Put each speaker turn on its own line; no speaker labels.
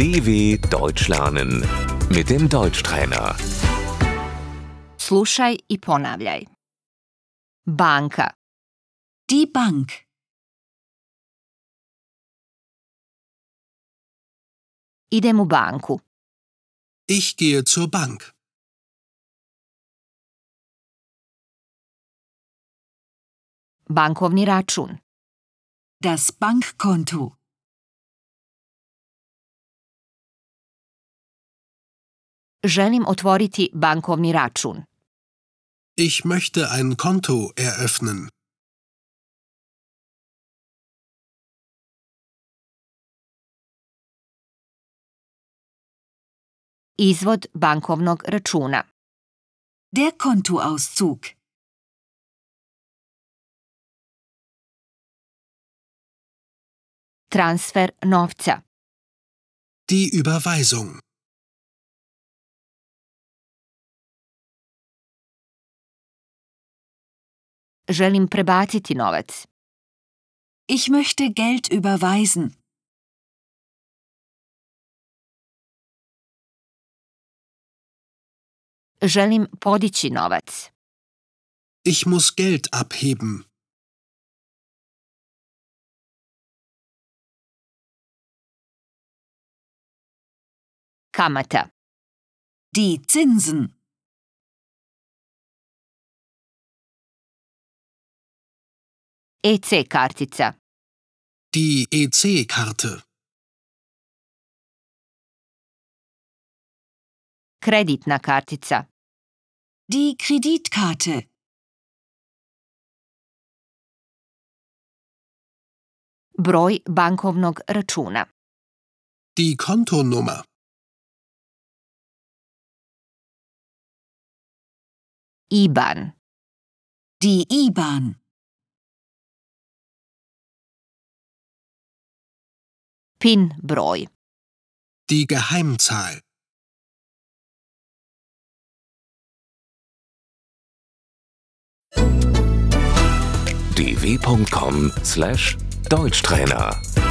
DW Deutsch lernen mit dem Deutschtrainer.
Slušaj i ponavljaj. Banka,
Die Bank.
idem u banku.
Ich gehe zur Bank.
Bankovni račun,
Das Bankkonto.
želim otvoriti bankovni račun.
Ich möchte ein Konto eröffnen.
Izvod bankovnog računa,
Der Kontoauszug.
transfer novca,
Die Überweisung.
želim prebaciti novac,
Ich möchte Geld überweisen.
želim podići novac,
Ich muss Geld abheben.
kamata,
Die Zinsen.
EC E kartica,
Die E EC-Karte.
kreditna kartica,
Die Kreditkarte.
broj bankovnog računa,
Die Kontonummer.
IBAN,
Die IBAN.
PIN broj,
Die Geheimzahl.
dw.com/deutschtrainer